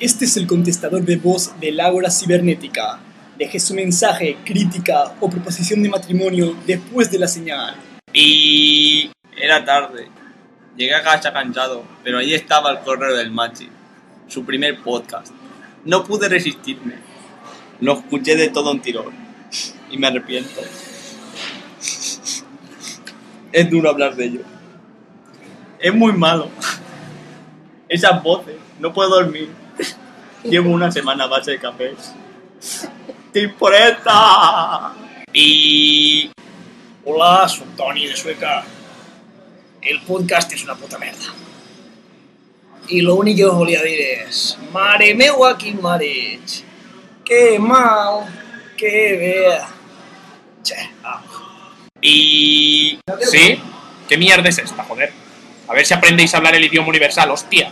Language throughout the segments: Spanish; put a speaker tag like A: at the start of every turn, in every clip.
A: Este es el contestador de voz del Ágora Cibernética. Deje su mensaje, crítica o proposición de matrimonio después de la señal.
B: Y era tarde. Llegué a casa cansado, pero allí estaba el correo del Machi, su primer podcast. No pude resistirme. Lo escuché de todo un tirón. Y me arrepiento. Es duro hablar de ello. Es muy malo. Esas voces. No puedo dormir. Llevo una semana a base de café. ¡Temporeta! Y...
C: Hola, soy Tony de Sueca. El podcast es una puta mierda. Y lo único que os voy a decir es, mare meu aquí marech. Qué mal, qué vea. Che, ah.
D: Y... ¿Sí? ¿Qué mierda es esta, joder? A ver si aprendéis a hablar el idioma universal, hostia.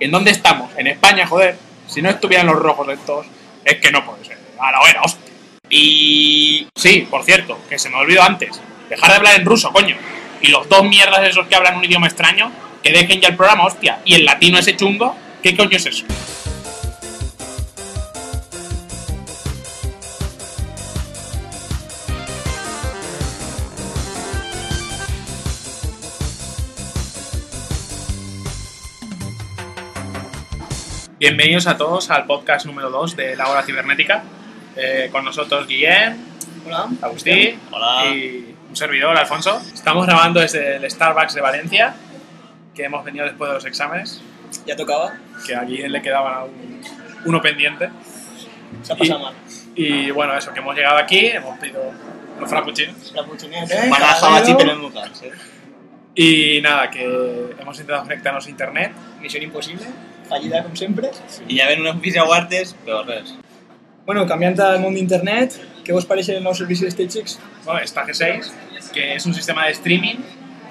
D: ¿En dónde estamos? En España, joder. Si no estuvieran los rojos estos, es que no puede ser. A la hora, hostia. Y... Sí, por cierto, que se me olvidó antes. Dejar de hablar en ruso, coño. Y los dos mierdas esos que hablan un idioma extraño, que dejen ya el programa, hostia. Y el latino ese chungo, ¿qué coño es eso? Bienvenidos a todos al podcast número 2 de La Hora Cibernética. Eh, con nosotros Guillem,
A: Hola.
D: Agustín
B: Hola.
D: y un servidor, Alfonso. Estamos grabando desde el Starbucks de Valencia, que hemos venido después de los exámenes,
A: Ya tocaba.
D: que a Guillem le quedaba un- uno pendiente.
A: Se ha pasado
D: Y-
A: mal.
D: Y bueno, eso, que hemos llegado aquí, hemos pedido unos frappuccinos.
A: La puchineta, ¿eh?
B: Me ha dejado así,
A: Caballero.
B: pero es muy cansado.
D: Y nada, que hemos intentado conectarnos a internet.
A: Misión imposible. Fallida, com sempre.
B: Y ya ven unos oficios guardes, peores.
A: Bueno, canviant al món d'internet, què vos pareix el nou servici de StageX?
D: Bueno, está G6, que es un sistema de streaming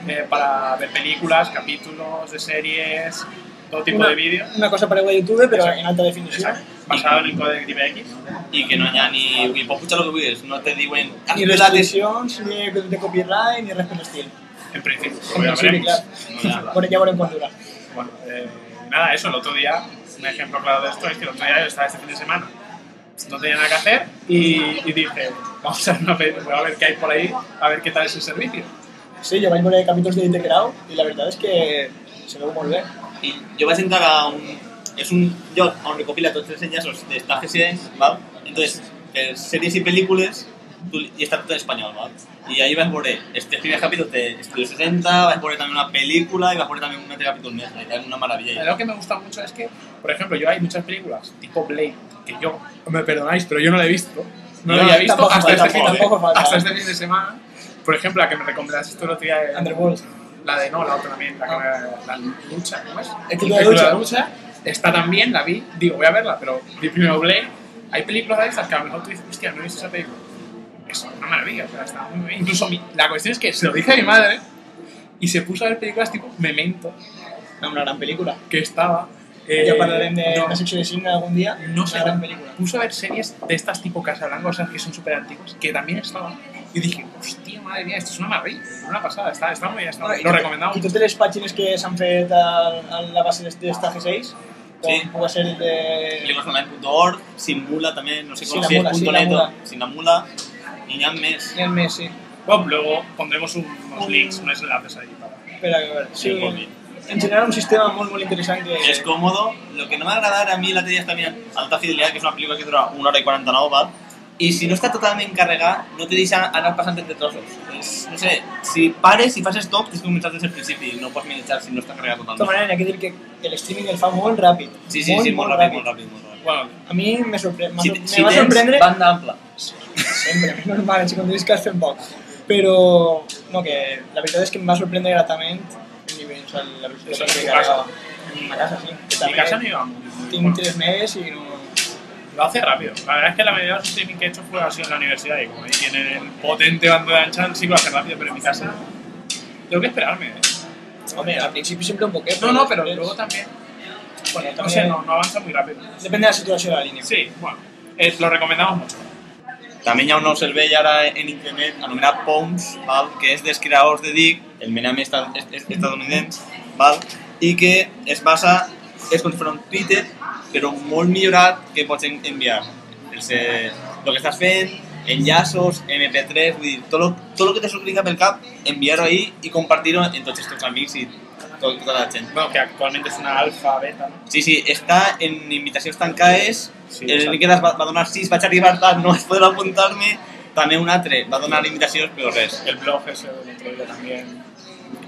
D: eh, para ver películas, capítulos de series, todo tipo
A: Una-
D: de vídeos.
A: Una cosa parecida a YouTube, però
D: Exacte.
A: en alta definició.
D: Exacto. Basado en el código IPX.
B: Y que no haya ni... Y pues escucha lo que pides, no te digo en...
A: Ni restriccions, ni de copyright, ni res per l'estil.
D: En principio,
A: En
D: lo ya
A: principio,
D: veremos.
B: claro.
A: Bueno, ya veremos cuándo dura.
D: Bueno, eh, nada, eso, el otro día, un ejemplo claro de esto es que el otro día yo estaba este fin de semana, no tenía nada que hacer y, y dije, vamos a ver, una peli- voy a ver qué hay por ahí, a ver qué tal es el servicio.
A: Sí, yo vaig veure capítols de Integrau i la veritat és que se veu molt bé.
B: Y yo voy a sentar a un... Es un... Yo aún recopila todas las reseñas los de esta Resident, ¿vale? Entonces, eh, series y películas, tú- y está todo en español, ¿vale? Y ahí vas por eh, este primer capítulo de Estudio 60, vas por eh, también una película y vas por eh, también un otro capítulo más, y tal, una maravilla.
D: Lo que me gusta mucho es que, por ejemplo, yo hay muchas películas tipo Blade que yo, me perdonáis, pero yo no la he visto. No,
A: No,
D: la había visto
A: tampoco
D: hasta,
A: falta,
D: este fin, de-
A: tampoco eh. falta.
D: hasta este fin de semana. Por ejemplo, la que me recomendaste tú el otro día, eh,
A: Underworld.
D: la de no, la otra también, la, que me- la lucha, ¿cómo es?
A: El club de la
D: club
A: lucha.
D: Está también, la vi, digo, voy a verla, pero vi primero Blade. Hay películas de estas que a lo mejor tú dices, hostia, no he visto esa película. Es una maravilla, o sea, está muy bien. Incluso mi- la cuestión es que se lo dije a mi madre y se puso a ver películas tipo Memento,
A: No, una gran pel·lícula.
D: que estaba. eh,
A: ja parlarem de
D: no,
A: una secció de cine algun dia.
D: no sé,
A: Una gran pel·lícula.
D: puso a ver series de estas tipo Casablanca, o sea, que son súper antiguas, que también estaban. Y dije, hostia, madre mía, esto es una maravilla, una pasada, está, está muy bien, está muy bien. Lo recomendamos.
A: I totes les pàgines que s'han fet al- a, la base d'esta G6, com
B: Sí.
A: pugui ser el de...
B: Librosenline.org, Simula también, no sé cómo
A: Sin la
B: si es
A: mula, sin
B: punto
A: la
B: net,
A: mula.
B: sin la mula, ni ya mes.
A: N'hi ha més, sí.
D: Bueno, luego pondremos unos links, unos enlaces ahí para.
A: Espera, que a veure. Sí,
B: Sí, molt bé.
A: en general un sistema molt, molt interessant que...
B: Es cómodo. Lo que no me agradar a mí la teoría es también Alta Fidelidad, que es una película que dura una hora y 49, ¿vale? Y si no está totalmente cargada, no te dejan anar pasando entre trozos. Es- no sé, si pares y haces stop, tienes que comenzar desde el principio y no puedes meditar si no está cargada
A: De tota
B: totalmente.
A: manera, hi ha que dir que el streaming el fa molt ràpid.
B: Sí, sí, sí, muy rápido, muy rápido, muy rápido.
D: Bueno,
A: A mi me, sorpre... m'ha
B: Si,
A: sor- me
B: si
A: va
B: tens
A: sorprendre...
B: banda ampla.
A: Sempre, és normal, si com dius que has fet poc. Però, no, que la veritat és que em va sorprendre gratament el nivell, o sigui, la
D: Això
A: velocitat
D: és
A: que
D: tu casa.
A: carregava. A casa, sí. Que
D: en mi casa no
A: també
D: íbamos. Bueno,
A: tinc tres megas i no...
D: Lo hace rápido. La verdad es que la mayoría de los streaming que he hecho fue así en la universidad y como ahí tienen el potente bando de ancha, sí que lo hace rápido, pero en mi casa tengo que esperarme. ¿eh?
A: Home, al principi sempre un poquet.
D: No, no, pero
A: després-
D: luego también.
A: Bueno,
D: No
A: també-
D: sé, no, no avanza muy rápido.
A: Depèn de la situació de la línia.
D: Sí, bueno, eh, lo recomendamos mucho.
B: También ya uno se ve ya ahora en internet anomenat Pounds, ¿vale? que es de creadors de Dick, el mename estadounidense, ¿vale? y que es basa és com si fos un Twitter, però molt millorat, que pots en- enviar els, eh, el que estàs fent, enllaços, MP3, vull dir, tot lo, tot lo que te surgui pel cap, enviar-ho ahí i compartir-ho en tots els teus amics i tot, tota la gent.
D: Bueno, que actualmente es una alfa, beta, ¿no?
B: Sí, sí, està en invitacions tancades,
D: Sí,
B: el
D: exacte.
B: Miquel va, va donar 6, vaig arribar tard, no vaig poder apuntar-me, també un altre va donar invitacions, però res.
D: El blog ese del otro día también.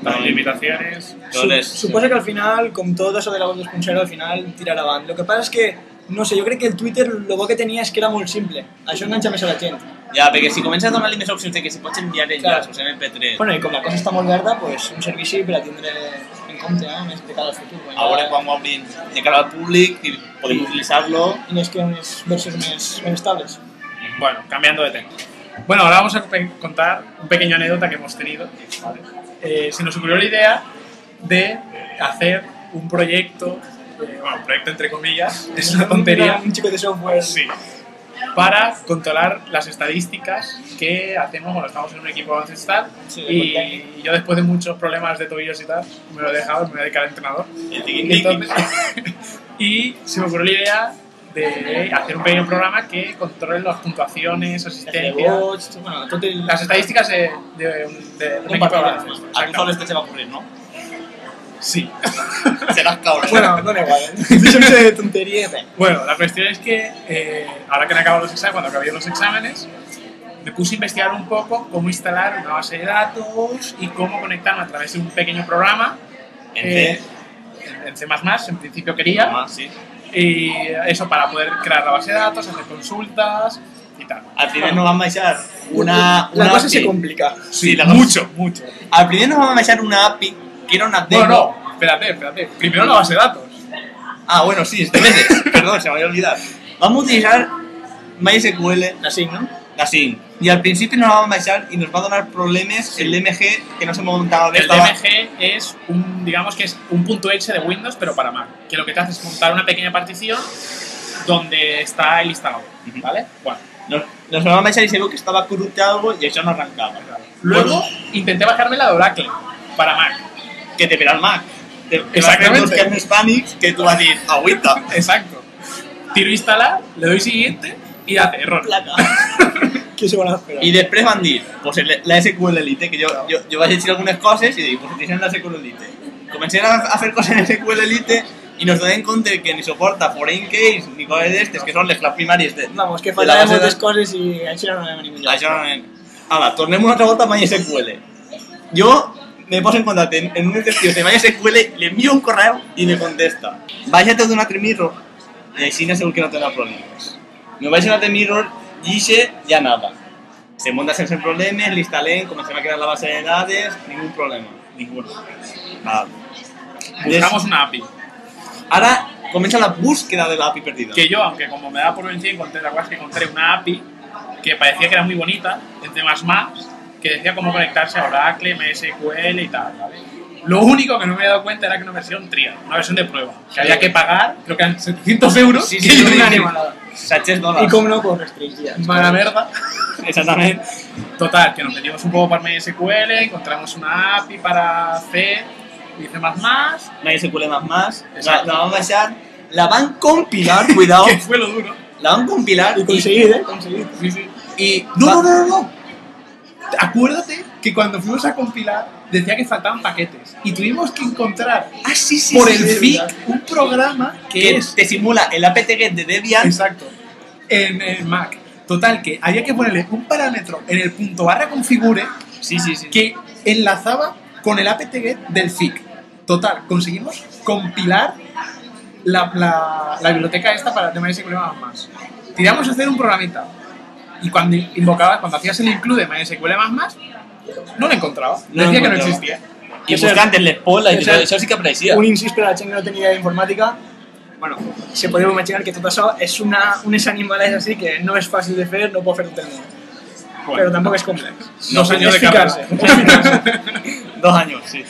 B: Las
D: Las invitaciones.
B: Però
A: Su-
B: res.
A: Suposo que al final, com tot això de la web 2.0, al final tirarà avant. Lo que passa és que, no sé, jo crec que el Twitter lo bo que tenia és que era molt simple. Això enganxa més a la gent.
B: Ja, perquè si comença a donar-li més opcions de que si pots enviar enllaços, MP3...
A: Bueno, i com la cosa està molt verda, pues, un servici per a tindre en compte, eh, més de cara al futur. Bueno,
B: Ahora quan ho obrin de cara al públic i podem utilitzar-lo.
A: I les que unes versions més, més estables.
D: Bueno, cambiando de tema. Bueno, ahora vamos a pe- contar un pequeño anécdota que hemos tenido. ¿vale? Eh, se nos ocurrió la idea de hacer un proyecto, eh, bueno, un proyecto entre comillas, es una tontería,
A: Un chico de software.
D: sí, para controlar las estadísticas que hacemos cuando estamos en un equipo ancestral.
A: Sí, de
D: Y yo después de muchos problemas de tobillos y tal, me lo he dejado y me voy a dedicar a entrenador.
B: El
D: Y,
B: tiqui-tiqui.
D: entonces- y se me ocurrió la idea de hacer un pequeño programa que controle las puntuaciones,
A: El
D: asistencia,
A: watch, bueno, tot el...
D: las estadísticas de, de un, de un
A: Un
D: equipo
A: partido.
D: de baloncesto,
B: A tu
D: exacto.
B: solo este se va a ocurrir, ¿no?
D: Sí.
B: Serás cabrón.
A: Bueno, dona igual, eh? Deixem-se de tonteries, eh?
D: Bueno, la cuestión es que eh, ahora que han acabado los exámenes, cuando acabé los exámenes, me puse a investigar un poco cómo instalar una base de datos y cómo conectarme a través de un pequeño programa
B: En
D: eh,
B: C.
D: en C++, en principio quería.
B: Ah, sí.
D: Y eso para poder crear la base de datos, hacer consultas y tal.
B: Al primer no van a baixar una, una
A: La cosa se
B: API.
A: complica.
B: Sí, la cosa-
D: mucho, mucho.
B: Al primer no van a baixar una API, que era una demo.
D: No, no, espérate, espérate. Primero la base de datos.
B: Ah, bueno, sí, este mes. Perdón, se me había olvidado. Vamos a utilizar MySQL,
A: La cinc, no?
B: la SIM. Y al principio nos vamos a baixar y nos va a donar problemas el DMG que no se montaba de
D: El DMG es un, digamos que es un punto exe de Windows, pero para Mac. Que lo que te hace es montar una pequeña partición donde está el instalador,
B: Ujú.
D: ¿vale? Bueno,
B: Nos, nos van a baixar y se vio que estaba corrupto algo y eso no arrancaba.
D: luego intenté bajarme la de Oracle para Mac.
B: que te verá el Mac. Te, te Exactamente.
D: Exactamente.
B: Vas a en Spanish que tú vas a decir, agüita.
D: Exacto. Tiro instalar, le doy siguiente y hace error.
A: Què se van a esperar?
B: I després van dir, pues el- la SQL Elite, que jo, jo, jo vaig llegir algunes coses i dic, pues utilitzem la SQL Elite. Comencem a, a fer coses en SQL Elite i nos donem compte que ni soporta foreign case ni coses d'estes, que són les claus primàries de...
A: Vamos, que
B: de la
A: faltaven
B: base de-
A: moltes coses i això no anem a ningú lloc.
B: Això no anem. Ara, tornem una altra volta a MySQL. Jo me poso en contacte en, en un detectiu de MySQL, li envio un correu i me contesta. Baixa-te d'un altre mirror i així no segur que no tindrà problemes. Me vaig a un altre mirror, llixe, ja nada. Se monta sense problemes, l'instal·lem, comencem a crear la base de dades, ningú problema.
D: Ninguno.
B: Val.
D: Buscamos una API.
B: Ara comença la búsqueda de l'API perdida.
D: que yo, aunque como me da por vencido, encontré, ¿te acuerdas que encontré una API que parecía que era muy bonita, en C++, que decía cómo conectarse a Oracle, MSQL y tal, ¿vale? Lo único que no me había dado cuenta era que era una versión trial, una versión de prueba, que había que pagar, creo que eran 700 euros,
B: Sí,
D: que
B: sí, lo
D: yo no me
B: dije.
D: animo a nada.
B: Satges dòlars.
A: I com no, pues restringides.
D: Mala mierda.
B: Exactament.
D: Total, que nos metimos un poco para MSQL, encontramos una API para C y C++,
B: MySQL++, más más, la,
D: Exacto.
B: la van a baixar, la van compilar, cuidado,
D: que fue lo duro.
B: la van compilar
A: I aconseguit, eh? Aconseguit.
D: Sí, sí.
B: y
D: No,
B: va-
D: no, no, no, no. Acuérdate que cuando fuimos a compilar decía que faltaban paquetes y tuvimos que encontrar
B: Ah, sí, sí,
D: por
B: sí,
D: el
B: sí, es
D: FIC
B: verdad.
D: un programa que,
B: que
D: es
B: te simula el apt-get de Debian
D: exacto en el Mac. Total que había que ponerle un parámetro en el punto barra configure
B: sí, sí, sí.
D: que enlazaba con el apt-get del FIC. Total, conseguimos compilar la, la- la biblioteca esta para de MySQL más. Tiramos a hacer un programita y cuando invocabas, cuando hacías el include MySQL más más, no lo encontraba.
B: No lo
D: Decía que no
B: encontraba.
D: existía.
B: y
A: Ese-
B: buscant en l'espola
A: ese-
B: y todo, eso sí que apareixia
A: Un incís per a la gent que no tenia idea d'informàtica. Bueno, e se podeu imaginar que tot això és una, unes animalades així que no és fàcil de fer, no ho pot fer tot el món. Però tampoc és complex.
B: No,
D: Dos años
A: es
D: de carrera.
A: ficarse, es ficarse.
B: dos años, sí.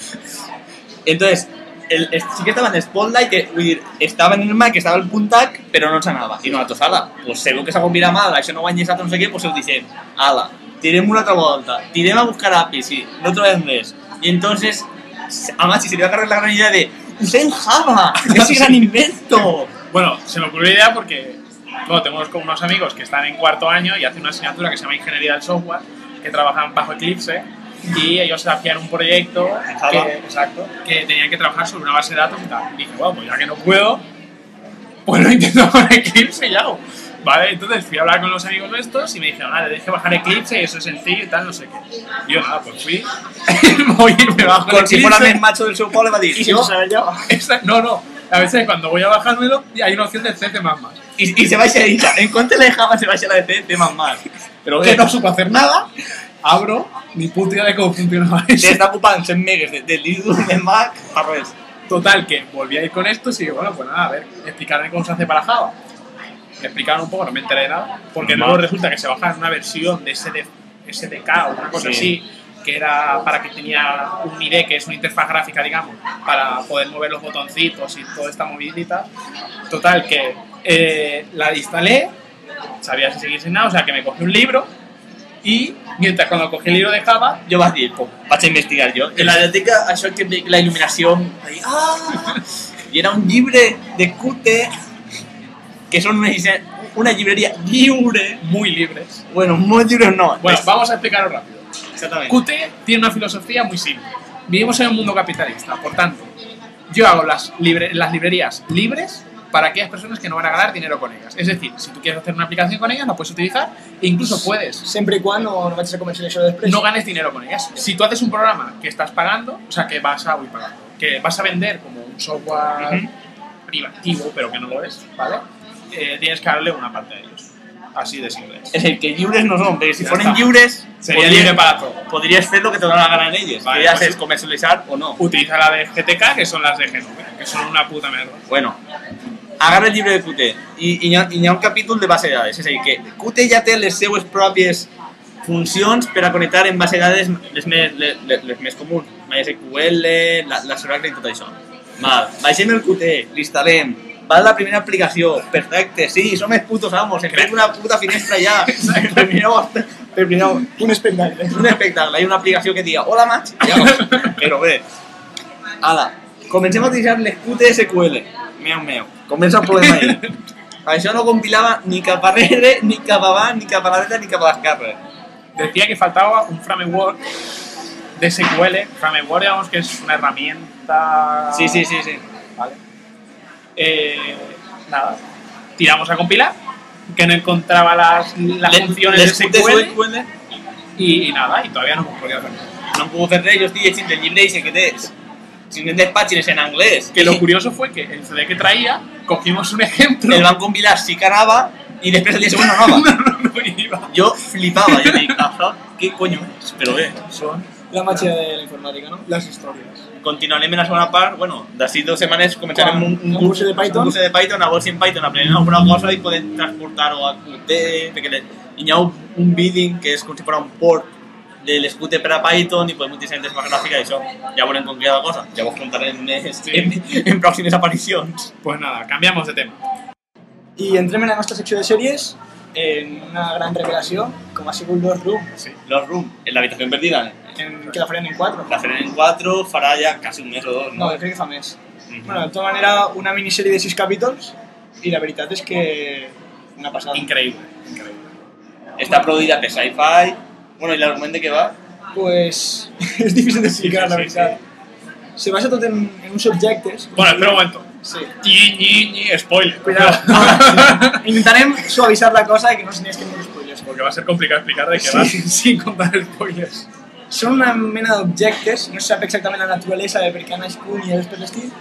B: Entonces, el, el- sí que estaba en Spotlight, que, vull dir, estaba en el Mac, estaba el puntac, pero no s'anava. I nosaltres, ala, pues segur que s'ha compilat mal, això no ho han llesat, no sé què, pues ho deixem. Ala, tirem una altra volta, tirem a buscar API, sí, no trobem res. I entonces, a Maxi se li va carrer la gran idea de Usen Java, ese gran invento.
D: Bueno, se me ocurrió la idea porque bueno, tengo unos, unos amigos que están en cuarto año y hacen una asignatura que se llama Ingeniería del Software, que trabajan bajo Eclipse y ellos hacían un proyecto
B: Java.
D: que, exacto, que tenían que trabajar sobre una base de datos y tal. Y dije, bueno, pues ya que no puedo, pues lo intento con Eclipse y hago. Vale, entonces fui a hablar con los amigos estos y me dijeron, ah, le dije bajar Eclipse y eso es sencillo y tal, no sé qué. Y yo, nada, pues fui, voy y me bajo
B: Con si fuera
D: Eclipse.
B: el macho del Sao Paulo, le va a
A: Y
B: decir,
A: si
B: yo,
A: no sabes yo.
D: Esa- no, no. A veces cuando voy a bajármelo hay una opción de C++.
B: y, y se va a ir a en contra de Java se va a la de C, más mal.
D: Pero
B: Que
D: que
B: no
D: no supo hacer nada, abro, ni puta idea de cómo funcionaba
B: Se
D: eso.
B: está ocupando 100 megas de, de Linux, de Mac, al revés.
D: Total, que volví a ir con esto y dije, bueno, pues nada, a ver, explicarme cómo se hace para Java. Me explicaron un poco, no me enteré de nada, porque
E: Normal.
D: luego resulta que se bajaron una versión de SD SDK o una cosa
B: Sí.
D: así, que era para que tenía un IDE, que es una interfaz gráfica, digamos, para poder mover los botoncitos y toda esta movidita. Total, que eh, la instalé, sabía si seguir sin nada, o sea que me cogí un libro y mientras cuando cogí el libro de Java,
B: Yo vas a decir, pues, vas a investigar yo. En la biblioteca, això que ve la iluminación, ahí, ah, y era un libre de Qt, que son una, una librería libre.
D: muy libres.
B: Bueno, muy libres no.
D: Bueno,
B: es-
D: vamos a explicarlo rápido.
B: exactamente.
D: QT tiene una filosofía muy simple. Vivimos en un mundo capitalista, por tanto, yo hago las, libre- las librerías libres para aquellas personas que no van a ganar dinero con ellas. Es decir, si tú quieres hacer una aplicación con ellas, la puedes utilizar e incluso puedes.
A: Sempre i quan no, no vaig a comerciar això després.
D: No ganes dinero con ellas. Si tú haces un programa que estás pagando, o sea, que vas a, voy pagando, que vas a vender como un software privativo, pero que no lo es, ¿vale? Eh, tienes que darle una parte de ellos. Así de simple.
B: Es el que libres no son, porque si
D: Ya
B: fueran
D: está.
B: libres,
D: Sería
B: podrías-
D: libre para todo.
B: podrías hacer lo que te van a ganar ellos.
D: Vale,
B: que ya
D: pues
B: es
D: sí.
B: comercializar o no.
D: Utiliza la de GTK, que son las de GNU, que son una puta mierda.
B: Bueno, agarra el llibre de Qt i, i, hi ha, i hi ha un capítol de base de dades. És a dir, que Qt ja té les seues pròpies funcions per a connectar en base de dades les més, les, les, les més comuns. MySQL, la, la Soracle i tot això. Val, baixem el Qt, l'instal·lem, va la primera aplicació, perfecte, sí, som els putos amos, hem fet una puta finestra ja, termineu, termineu,
A: Un espectacle.
B: un espectacle, hi ha una aplicació que diga hola maig, ja, però bé. Ala, comencem a utilitzar les putes SQL. Meu, meu. Comença el problema ahí. Això no compilava ni cap arrere, ni cap avant, ni cap a la dreta, ni cap a l'esquerra.
D: decía que faltaba un framework de SQL. Framework, digamos que es una herramienta.
B: Sí, sí, sí, sí.
D: Vale. Eh, nada. Tiramos a compilar, que no encontraba las, las
B: Les-
D: funciones
B: les
D: de
B: putes
D: SQL.
B: SQL
D: Y, y nada, y todavía no hemos podido hacer nada.
B: no em puc fer res, jo estic llegint el llibre i sé què és. 500 pàgines en anglès.
D: Que lo curioso fue que el CD que traía, cogimos un ejemplo.
B: El van compilar sí que anava i després el dia següent no
D: no,
B: anava.
D: no, no iba.
B: Jo flipava, jo dic, això, què coño és? Però bé.
D: Son. Ah.
A: La màgia de la informàtica, no? Les històries.
B: continuarem en la segona part, bueno, d'ací dues setmanes començarem
A: Quan?
B: un, un,
A: Un
B: curs,
A: curso de Python?
B: un curs de Python, a vols en Python, aprenent alguna cosa i podem transportar-ho a Qt, perquè le, hi ha un, un bidding que és com si fos un port de les Qt per a Python pues i podem utilitzar interfaz gràfica i això. Ja veurem com queda la cosa, ja vos contarem més
D: Sí.
B: en, en pròximes aparicions.
D: Pues nada, cambiamos de tema.
A: I entrem en la nostra secció de sèries en una gran revelació, com ha sigut Lost Room,
B: Los Room, en l'habitació perdida, ¿eh?
A: en, que la farem en 4.
B: la farem en 4, farà ja quasi un mes o dos,
A: No,
B: no?
A: jo crec que fa més.
B: Mhm.
A: Bueno, de tota manera, una minissèrie de 6 capítols i la veritat és que una passada.
D: Increíble. increíble.
B: Està produïda per Sci-Fi, bueno, i l'argument de què va?
A: Pues és difícil d'explicar, la
D: Sí, sí, sí,
A: veritat. Se basa tot en, en uns objectes.
D: Bueno, espera un momento.
A: Sí.
D: Ñi, Ñi, Ñi, spoiler.
A: Cuidado. Ah, Intentarem suavitzar la cosa i que no se n'hi que molts spoilers.
D: Porque va a ser complicado explicar de qué
A: Sí.
D: va sin contar spoilers.
A: Són una mena d'objectes, no se sap exactament la naturalesa de per què han nascut ni res per l'estil,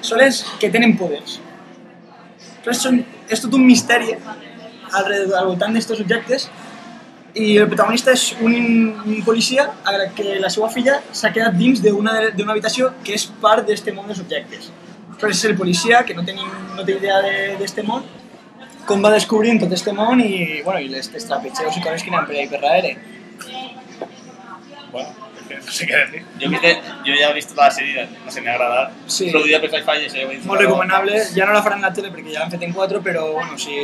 A: són els que tenen poders. Però són, és tot un misteri al, redor- al voltant d'aquests objectes i el protagonista és un, un policia a la que la seva filla s'ha quedat dins d'una d'una habitació que és part d'aquest món dels objectes. Però és el policia que no té, ni, no té idea de- d'aquest món com va descobrint tot aquest món i, bueno, i les estrapetxeus i coses que anem per ahí per darrere.
D: Bueno, es que no sé qué decir.
B: Yo, viste, yo ya he visto la serie, no sé, me ha agradado.
A: Sí.
B: Produïda per Sci-Fi, això ja ho he dit.
A: Molt recomanable, ja no la faran a la tele perquè ja l'han fet en 4, però bueno, si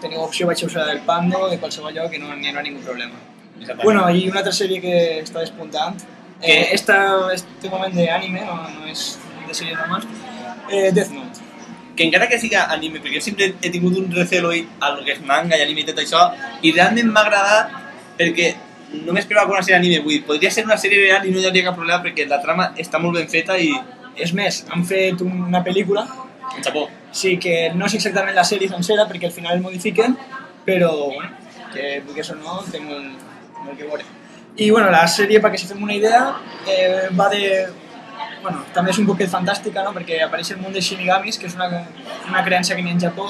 A: teniu opció vaig a usar del Pando, de qualsevol lloc, que no n'hi haurà ningú problema.
B: Exactament.
A: Bueno, i una altra sèrie que està despuntant, eh,
B: Què?
A: esta, este moment d'anime, no, no és de sèrie normal, eh, Death Note.
B: que encara que siga anime, perquè jo sempre he tingut un recelo i- al que és manga i anime i tot això, i realment m'ha agradat perquè no m'esperava que una sèrie anime, vull dir, podria ser una sèrie real i no hi hauria cap problema perquè la trama està molt ben feta i
A: És més, han fet un- una pel·lícula,
B: en Japó.
A: sí que no és exactament la sèrie sencera perquè al final el modifiquen, però bueno, que vulguis o no, té molt, molt que veure. I bueno, la sèrie, perquè si fem una idea, eh, va de... Bueno, també és un poquet fantàstica, no? perquè apareix el món de Shinigamis, que és una, una creença que n'hi ha en Japó,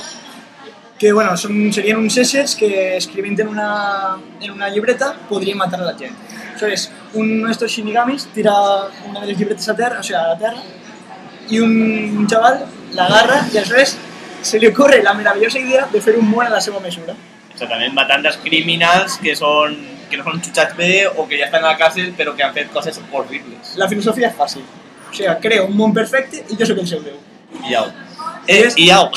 A: que bueno, són, serien uns éssers que escrivint en una, en una llibreta podrien matar a la gent. Aleshores, un d'estos shinigamis tira una de les llibretes a terra, o sigui, a la terra, i un, un xaval l'agarra i aleshores se li ocorre la meravellosa idea de fer un món a la seva mesura.
B: Exactament, matant dels criminals que són que no són jutjats bé o que ja estan a la càcel però que han fet coses horribles.
A: La filosofia és fàcil. O sigui, creo un món perfecte i jo sóc el seu déu.
B: I au. Eh, I au.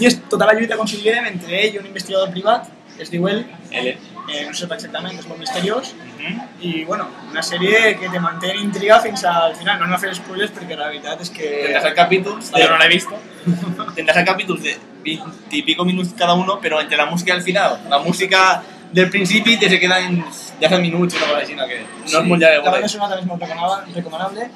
A: I és tota la lluita considerem entre ell i un investigador privat, que es diu ell,
B: Ele.
A: eh, no sé exactament, és molt misteriós, i bueno, una sèrie que te manté en intriga fins al final. No anem a fer spoilers perquè la veritat és que...
B: Tendrás el capítulos
D: Yo no la he visto.
B: tendrás a capítulos de 20 y pico minutos cada uno, pero entre la música y el final. La música del principio te se queda en 10 minutos, una cosa así, ¿no? que no es muy ya de
A: La banda
B: bola.
A: sonora també és molt recomanable, recomanable.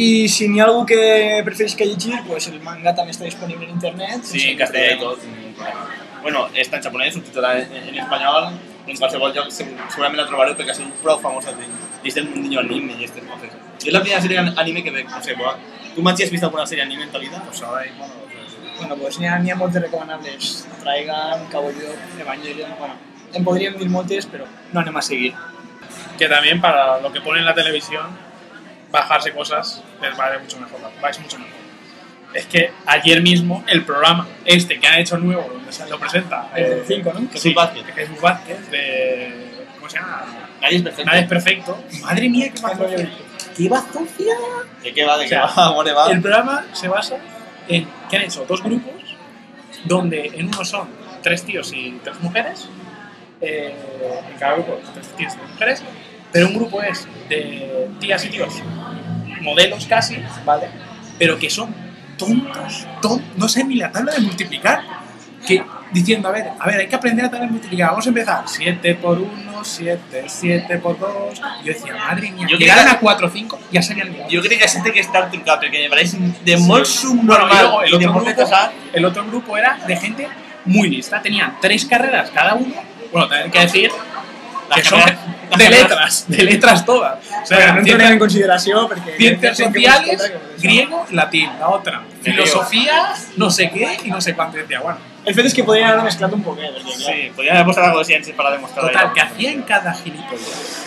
A: I si n'hi ha algú que prefereix que llegir, pues el manga també està disponible en internet.
B: Sí,
A: sense
B: en castellà y
A: problema.
B: todo. sin ningún problema. Bueno, está en japonés, subtitulada en, en español, en qualsevol lloc segur- segurament la trobareu perquè ha sigut prou famosa de, des del mundillo anime este i aquestes coses. Jo és la primera sèrie anime que veig, no sé, va. Tu, Maxi, has vist alguna sèrie anime en ta vida?
D: Pues ahora mismo no.
A: Bueno, pues n'hi ha, n'hi ha moltes recomanables. Traigan, Cowboy Evangelion, bueno, en podríem dir moltes, però no anem a seguir.
D: Que también para lo que pone en la televisión, bajarse cosas les vale mucho mejor. Vais mucho mejor. Es que ayer mismo el programa este que han hecho nuevo, donde se lo presenta.
A: El
D: eh,
A: del 5, ¿no?
B: Que
D: sí,
B: Jesús Vázquez.
D: Jesús Vázquez, de. ¿Cómo se llama?
B: Nadie és perfecte.
D: Nadie es perfecto. Madre mía, qué
A: Ah, no,
D: bazofia.
A: jo-
B: De què va, de
D: O
B: què
D: sea,
B: va, on va?
D: El programa se basa en que han hecho dos grupos, donde en uno son tres tíos y tres mujeres, eh, en cada grupo tres tíos y tres mujeres, pero un grupo es de tías y tíos, modelos casi, ¿vale? Pero que son tontos, tontos, no sé ni la tabla de multiplicar, que diciendo, a ver, a ver, hay que aprender a tabla de multiplicar, vamos a empezar, 7 por 1, 7, 7 por 2, yo decía, madre mía,
B: Yo
D: llegaron
B: quería-
D: a 4 o 5, ya se habían liado.
B: Jo crec que això té que estar trucat, perquè me pareix de
D: Sí.
B: molt
D: Bueno,
B: subnormal
D: y luego el
B: i de
D: otro
B: molt
D: grupo-
B: desfasat.
D: El otro grupo era de gente muy lista. Tenían tres carreras cada uno. Bueno, también hay que decir que
B: Las
D: son
B: carreras- las
D: de
B: carreras-
D: letras, de letras todas. O sea,
A: Bueno, no
D: ciencias-
A: entrarem en consideració perquè...
D: ciencias
A: Crec que hemos
D: sociales,
A: escoltat que- pues,
D: griego, latín, la otra.
B: Me
D: Filosofía, no sé qué y no sé cuánto. Y decía, bueno,
A: El fet és que podrien haver mezclat un poquet, perquè clar,
B: Sí, podrían haber puesto algo de ciencias para demostrar
D: total,
B: algo.
D: que hacían cada gilipollas.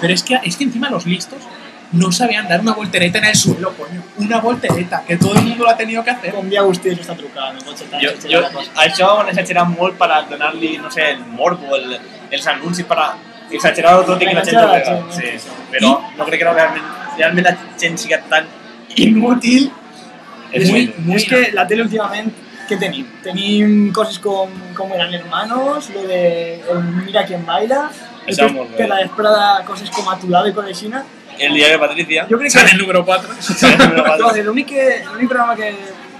D: Pero es que, es que encima los listos no sabían dar una voltereta en el suelo, coño. Una voltereta, que todo el mundo lo ha tenido que hacer.
A: com dia Agustí això està trucant, no pot ser tan
B: Jo,
A: xerxera
B: jo,
A: la cosa.
B: això ho han exagerat molt per donar-li, no sé, el morbo, el, els anuncis, per exagerar-ho tot i que la gent ho vega. Sí, però no crec que no, realment, realment la gent siga tan inútil. És
A: Muy,
B: muy,
A: muy es que la tele últimamente, ¿qué tenim? Tenim cosas com, com Eran Hermanos, lo de el Mira quién baila,
B: Això
A: después
B: molt bé.
A: te la desprada cosas como A tu lado y con China.
B: el diario de Patricia.
A: Yo creo
D: Sale el
A: que
D: número 4.
A: entonces, el único que- el único programa que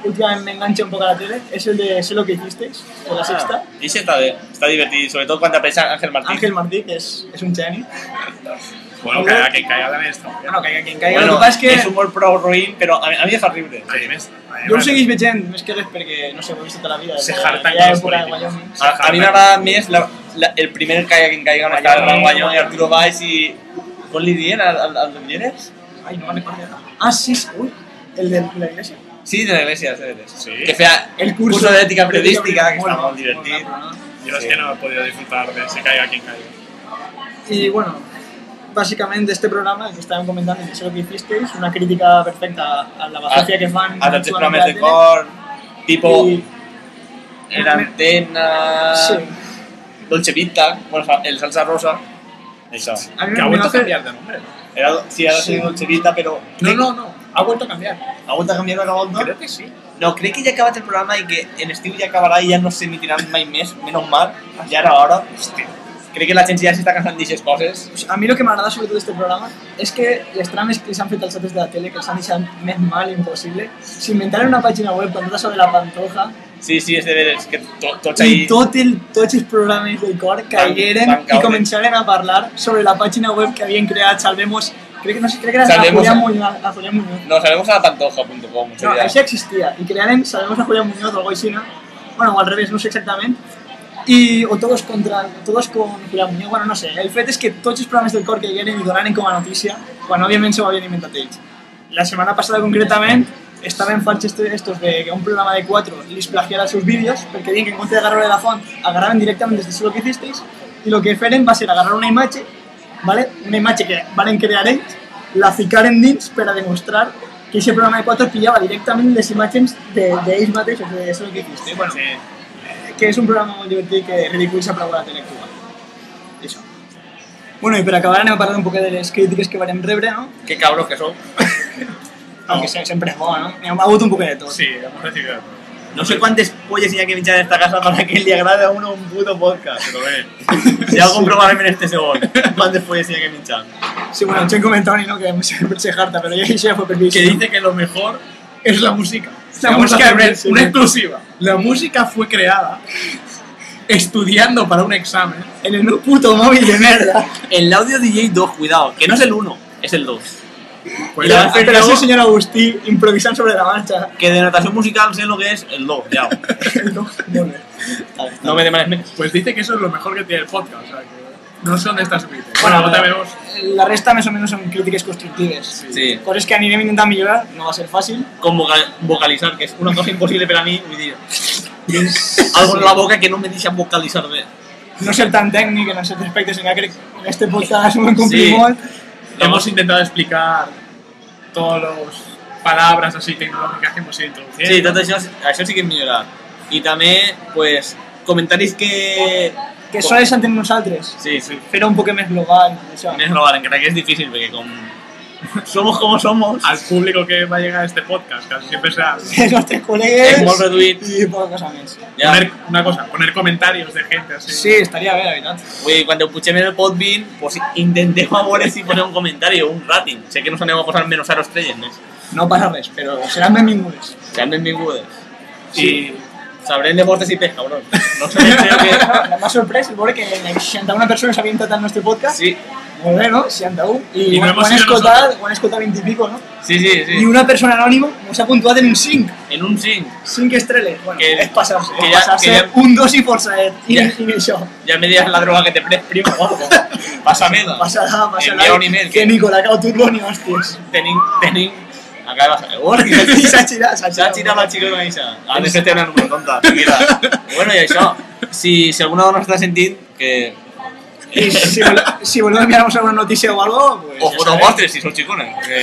A: últimamente me engancha un poco a la tele es el de Sé lo que hicisteis, de la sexta.
B: Ah, ese está, bien, está divertido, sobre todo cuando aparece Ángel Martín.
A: Ángel Martí, que es, es un geni.
D: Bueno, caiga quien caiga también está. muy bien.
A: Bueno, caiga quien caiga.
B: bueno,
A: lo que pasa es
B: es
A: que
B: humor pro ruin, pero a mi, a mi es horrible.
D: Ahí me está, ahí
A: yo
D: me
A: ho
D: está.
A: seguís veient, més que res perquè, no sé, ho he vist tota la vida.
D: Se
A: desde
D: hartan
A: aquella
D: con
A: època
D: los
A: de
D: políticos.
A: Wyoming.
B: A, a mí me agrada más la, la, el primer caiga quien caiga, no está el Gran Guayón y Arturo Valls y. ¿Con Lidien? ¿Al, al, al de Lienes?
A: Ai, no me'n recordo. Ah, sí, sí, uy, el de la iglesia.
B: Sí, de la iglesia, de la
D: Sí.
B: Que sea
A: El
B: el
A: curso
B: curso, de ética periodística, que
A: Molt
B: está
A: bo,
B: muy divertido.
A: molt bo,
D: Yo es
B: Sí.
D: que no he podido disfrutar de se caiga quien caiga.
A: Y bueno, básicamente este programa, el que estaban comentando, que sé lo que hicisteis, una crítica perfecta a la bazofia que fan.
B: A tantos programas de core, tipo El Antena,
A: Sí.
B: Dolce Vita, bueno, fa- el Salsa Rosa. Eso.
A: A mí
D: Que
A: me
D: ha vuelto a
A: hace-
D: cambiar de nombre.
B: Era, do- sí, ahora
A: Sí.
B: soy Dolce Vita, pero.
D: No, no, no. Ha vuelto a cambiar.
B: ¿Ha vuelto a cambiar la onda?
D: Creo que sí.
B: No, creo que ya acabaste el programa y que en Steam ya acabará y ya no se emitirá más y mes, menos mal. Ya era hora. Hostia. Crec que la gent ja s'està cansant d'aquestes coses.
A: Pues A mi el que m'agrada sobretot d'aquest este programa és que les trames que s'han fet als altres de la tele, que els han deixat més mal impossible, s'inventaren una pàgina web amb tot sobre la pantoja
B: Sí, sí, és de veres que to, tots
A: i
B: ahí...
A: tot el, tots els programes de cor caigueren
B: van
A: i
B: caure.
A: començaren a parlar sobre la pàgina web que havien creat Salvemos, crec que no sé, crec que era
B: Salvemos-
A: a Julián Muñoz. A Julián Muñoz.
B: No, sabemos a pantoja.com.
A: No, això existia. I crearen Sabemos a Julián Muñoz o algo així, ¿no? Bueno, o al revés, no sé exactament. I, o todos contra, todos con Julián Muñoz, bueno, no sé. El fet és que tots els programes del cor que hi eren i donaren com a notícia, quan òbviament s'ho havien inventat ells. La setmana passada, concretament, estaven farts esto- estos de que un programa de 4 les plagiara seus vídeos perquè diuen que en compte d'agarrar de la font agarraven directament des de lo que hicisteis i lo que feren va ser agarrar una imatge ¿vale? una imatge que van crear ells la ficaren dins per a demostrar que aquest programa de 4 pillava directament les imatges de- d'ells de, mateixos, de eso que hiciste. Bueno,
F: Sí.
A: que és un programa molt divertit i que ridiculitza prou la tele actual. Això. Bueno, i per acabar anem a parlar un poquet de les crítiques que vam rebre, no?
B: Que cabros que son.
A: Aunque se- sempre és bo, no? Hi ha hagut un poquet de tot.
F: Sí, hemos recibido.
B: No sé cuántas pollas tenía que pinchar en esta casa para que le agrade a uno un puto podcast.
F: Pero ve.
B: Si hago un programa en este segundo, ¿cuántas pollas tenía que pinchar?
A: Sí, bueno, Chen comentó y no que em siempre se jarta, pero ya ya fue permiso.
F: Que dice que lo mejor es la música.
A: La
F: La,
A: música
F: música de
A: también,
F: Brett,
A: sí.
F: una exclusiva. La música fue creada estudiando para un examen.
A: En el puto móvil de mierda.
B: El audio DJ 2, cuidado, que no es el 1, es el 2.
F: Pues
B: Y la
F: ya,
A: Pero
B: verdad es que
A: pero ese
B: luego-
A: señor Agustí improvisando sobre la marcha.
B: Que de notación musical sé lo que es el 2, ya.
A: No, bueno.
B: No me demanes menos.
F: pues dice que eso es lo mejor que tiene el podcast. O sea, que no sé dónde está su crítica.
A: Bueno,
F: Bueno, ahora
A: pero-
F: vemos.
A: La resta más o menos son críticas constructivas.
B: Sí.
A: Cosas que anirem intentant millorar, no va a ser fácil.
B: Con voca- vocalizar, que es una cosa imposible para mí hoy día. Algo en la boca que no me dice vocalizar bien.
A: No ser tan técnic en els seus aspectes, en crec que en este podcast ho hem complit
B: Sí.
A: molt.
F: Hemos intentado explicar todas las palabras así tecnológicas que hemos ido introduciendo.
B: Sí, tot això, això sí que hem millorat. I també, pues, comentaris que...
A: Que sols en tenim nosaltres.
B: Sí, sí.
A: Fer un poquet més global, això.
B: Més global, encara que és difícil, perquè com... Somos como somos.
F: Al público que va a llegar a este podcast, casi siempre será
A: Els nostres
B: És molt
A: col·legues
B: reduït.
A: i poca cosa més.
B: Ja.
F: poner una cosa, poner comentarios de gente así.
A: Sí, estaria bé, la veritat.
B: Vull dir, quan ho pugem en el Podbean, pues, intentem a veure si posem un comentari o un rating. Sé que no s'anem a posar menys 0 estrelles, més.
A: No passa res, però seran benvingudes.
B: Seran benvingudes.
F: Y
B: Sabrem de vostres i pes, cabrón. No sé, creo que...
A: M'ha sorprès veure que 61 persones havien entrat al nostre podcast.
B: Sí,
A: Molt bé, no? 61. I,
F: I no
A: ho,
F: hemos
A: han
F: sido
A: escoltat,
F: nosotros.
A: ho han escoltat 20 i pico, no?
B: sí,
A: I
B: sí. sí.
A: una persona anònima ens ha puntuat en un 5.
B: En un 5.
A: 5 estrelles. Bueno,
B: Que-
A: és passar-se.
B: que
A: és
B: ja-
A: passar-se
B: que ja-
A: un 2 i forçaet. I,
B: Ja.
A: I això.
B: Ja me diràs la droga que te prens, primo, guapo. Pásame-la.
A: Passarà, passarà.
B: Envia un email,
A: Que
B: que-
A: Nicolà cau turbo ni hòsties.
B: tenim, tenim... Acaba de
A: I s'ha
B: fer...
A: girat,
B: S'ha
A: s'ha
B: girat
A: girat.
B: la xica organitzada. Ha Ah, de fer una número tonta, tranquil·la. Bueno, i això, si, si alguna dona està sentint, que...
A: I si, vol- si voleu enviar-nos alguna notícia o algo, pues,
B: O fotos vostres, si sou xicones. Que,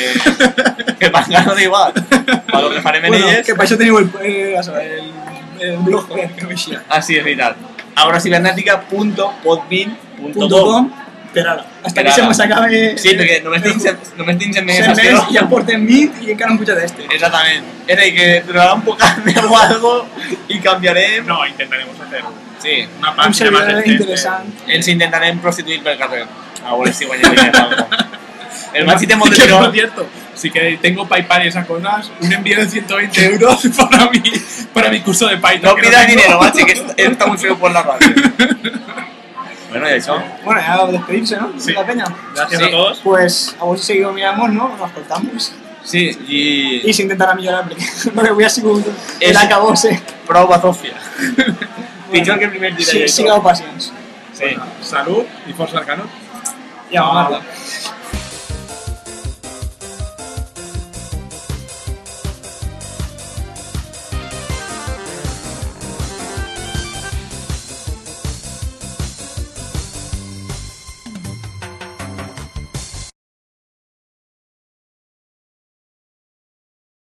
B: que pangano da igual. Per lo que farem en
A: bueno,
B: elles...
A: que per això teniu el, eh, això, el, el blog web, que m'eixia.
B: Ah, sí, és veritat. agrocibernètica.podbean.com
A: .com per ara. Hasta
B: Per
A: que se
B: ara.
A: mos acabe...
B: Sí, perquè només tinc, cent- només tinc 100
A: Cent
B: meses
A: més,
B: a
A: ja en portem 20 i encara no hem pujat este.
B: Exactament. És a dir, que trobarà un poc o algo i canviarem.
F: no, intentaremos hacer
B: Sí,
F: una
A: Un
F: página más
A: servidor
F: decente.
A: interessant.
B: ens intentarem prostituir pel Ah, carrer. A veure si guanyem diners o algo. El Maxi té molt de
F: Que, por
B: tiró.
F: cierto, si que tengo PayPal y esas cosas, un envío de 120 euros para mi, para mi curso de Python.
B: No
F: que
B: pidas
F: tengo.
B: dinero, Maxi, que esto está muy feo por la radio. Bueno, y això.
A: Bueno, ja despedirse, no?
F: Sí.
A: La penya.
F: Gracias
B: Sí.
F: a todos.
A: Pues a vos si seguiu miramos, ¿no? Nos cortamos.
B: Sí,
A: Y
B: i...
A: se intentará millorar, porque no le voy a seguir el
B: Es-
A: acabose.
B: Prou bazofia. Pitjor que el primer dia.
A: Sí, sigao pacients.
B: Sí.
F: Salud y Forza Arcano.
A: Ja, mamarla.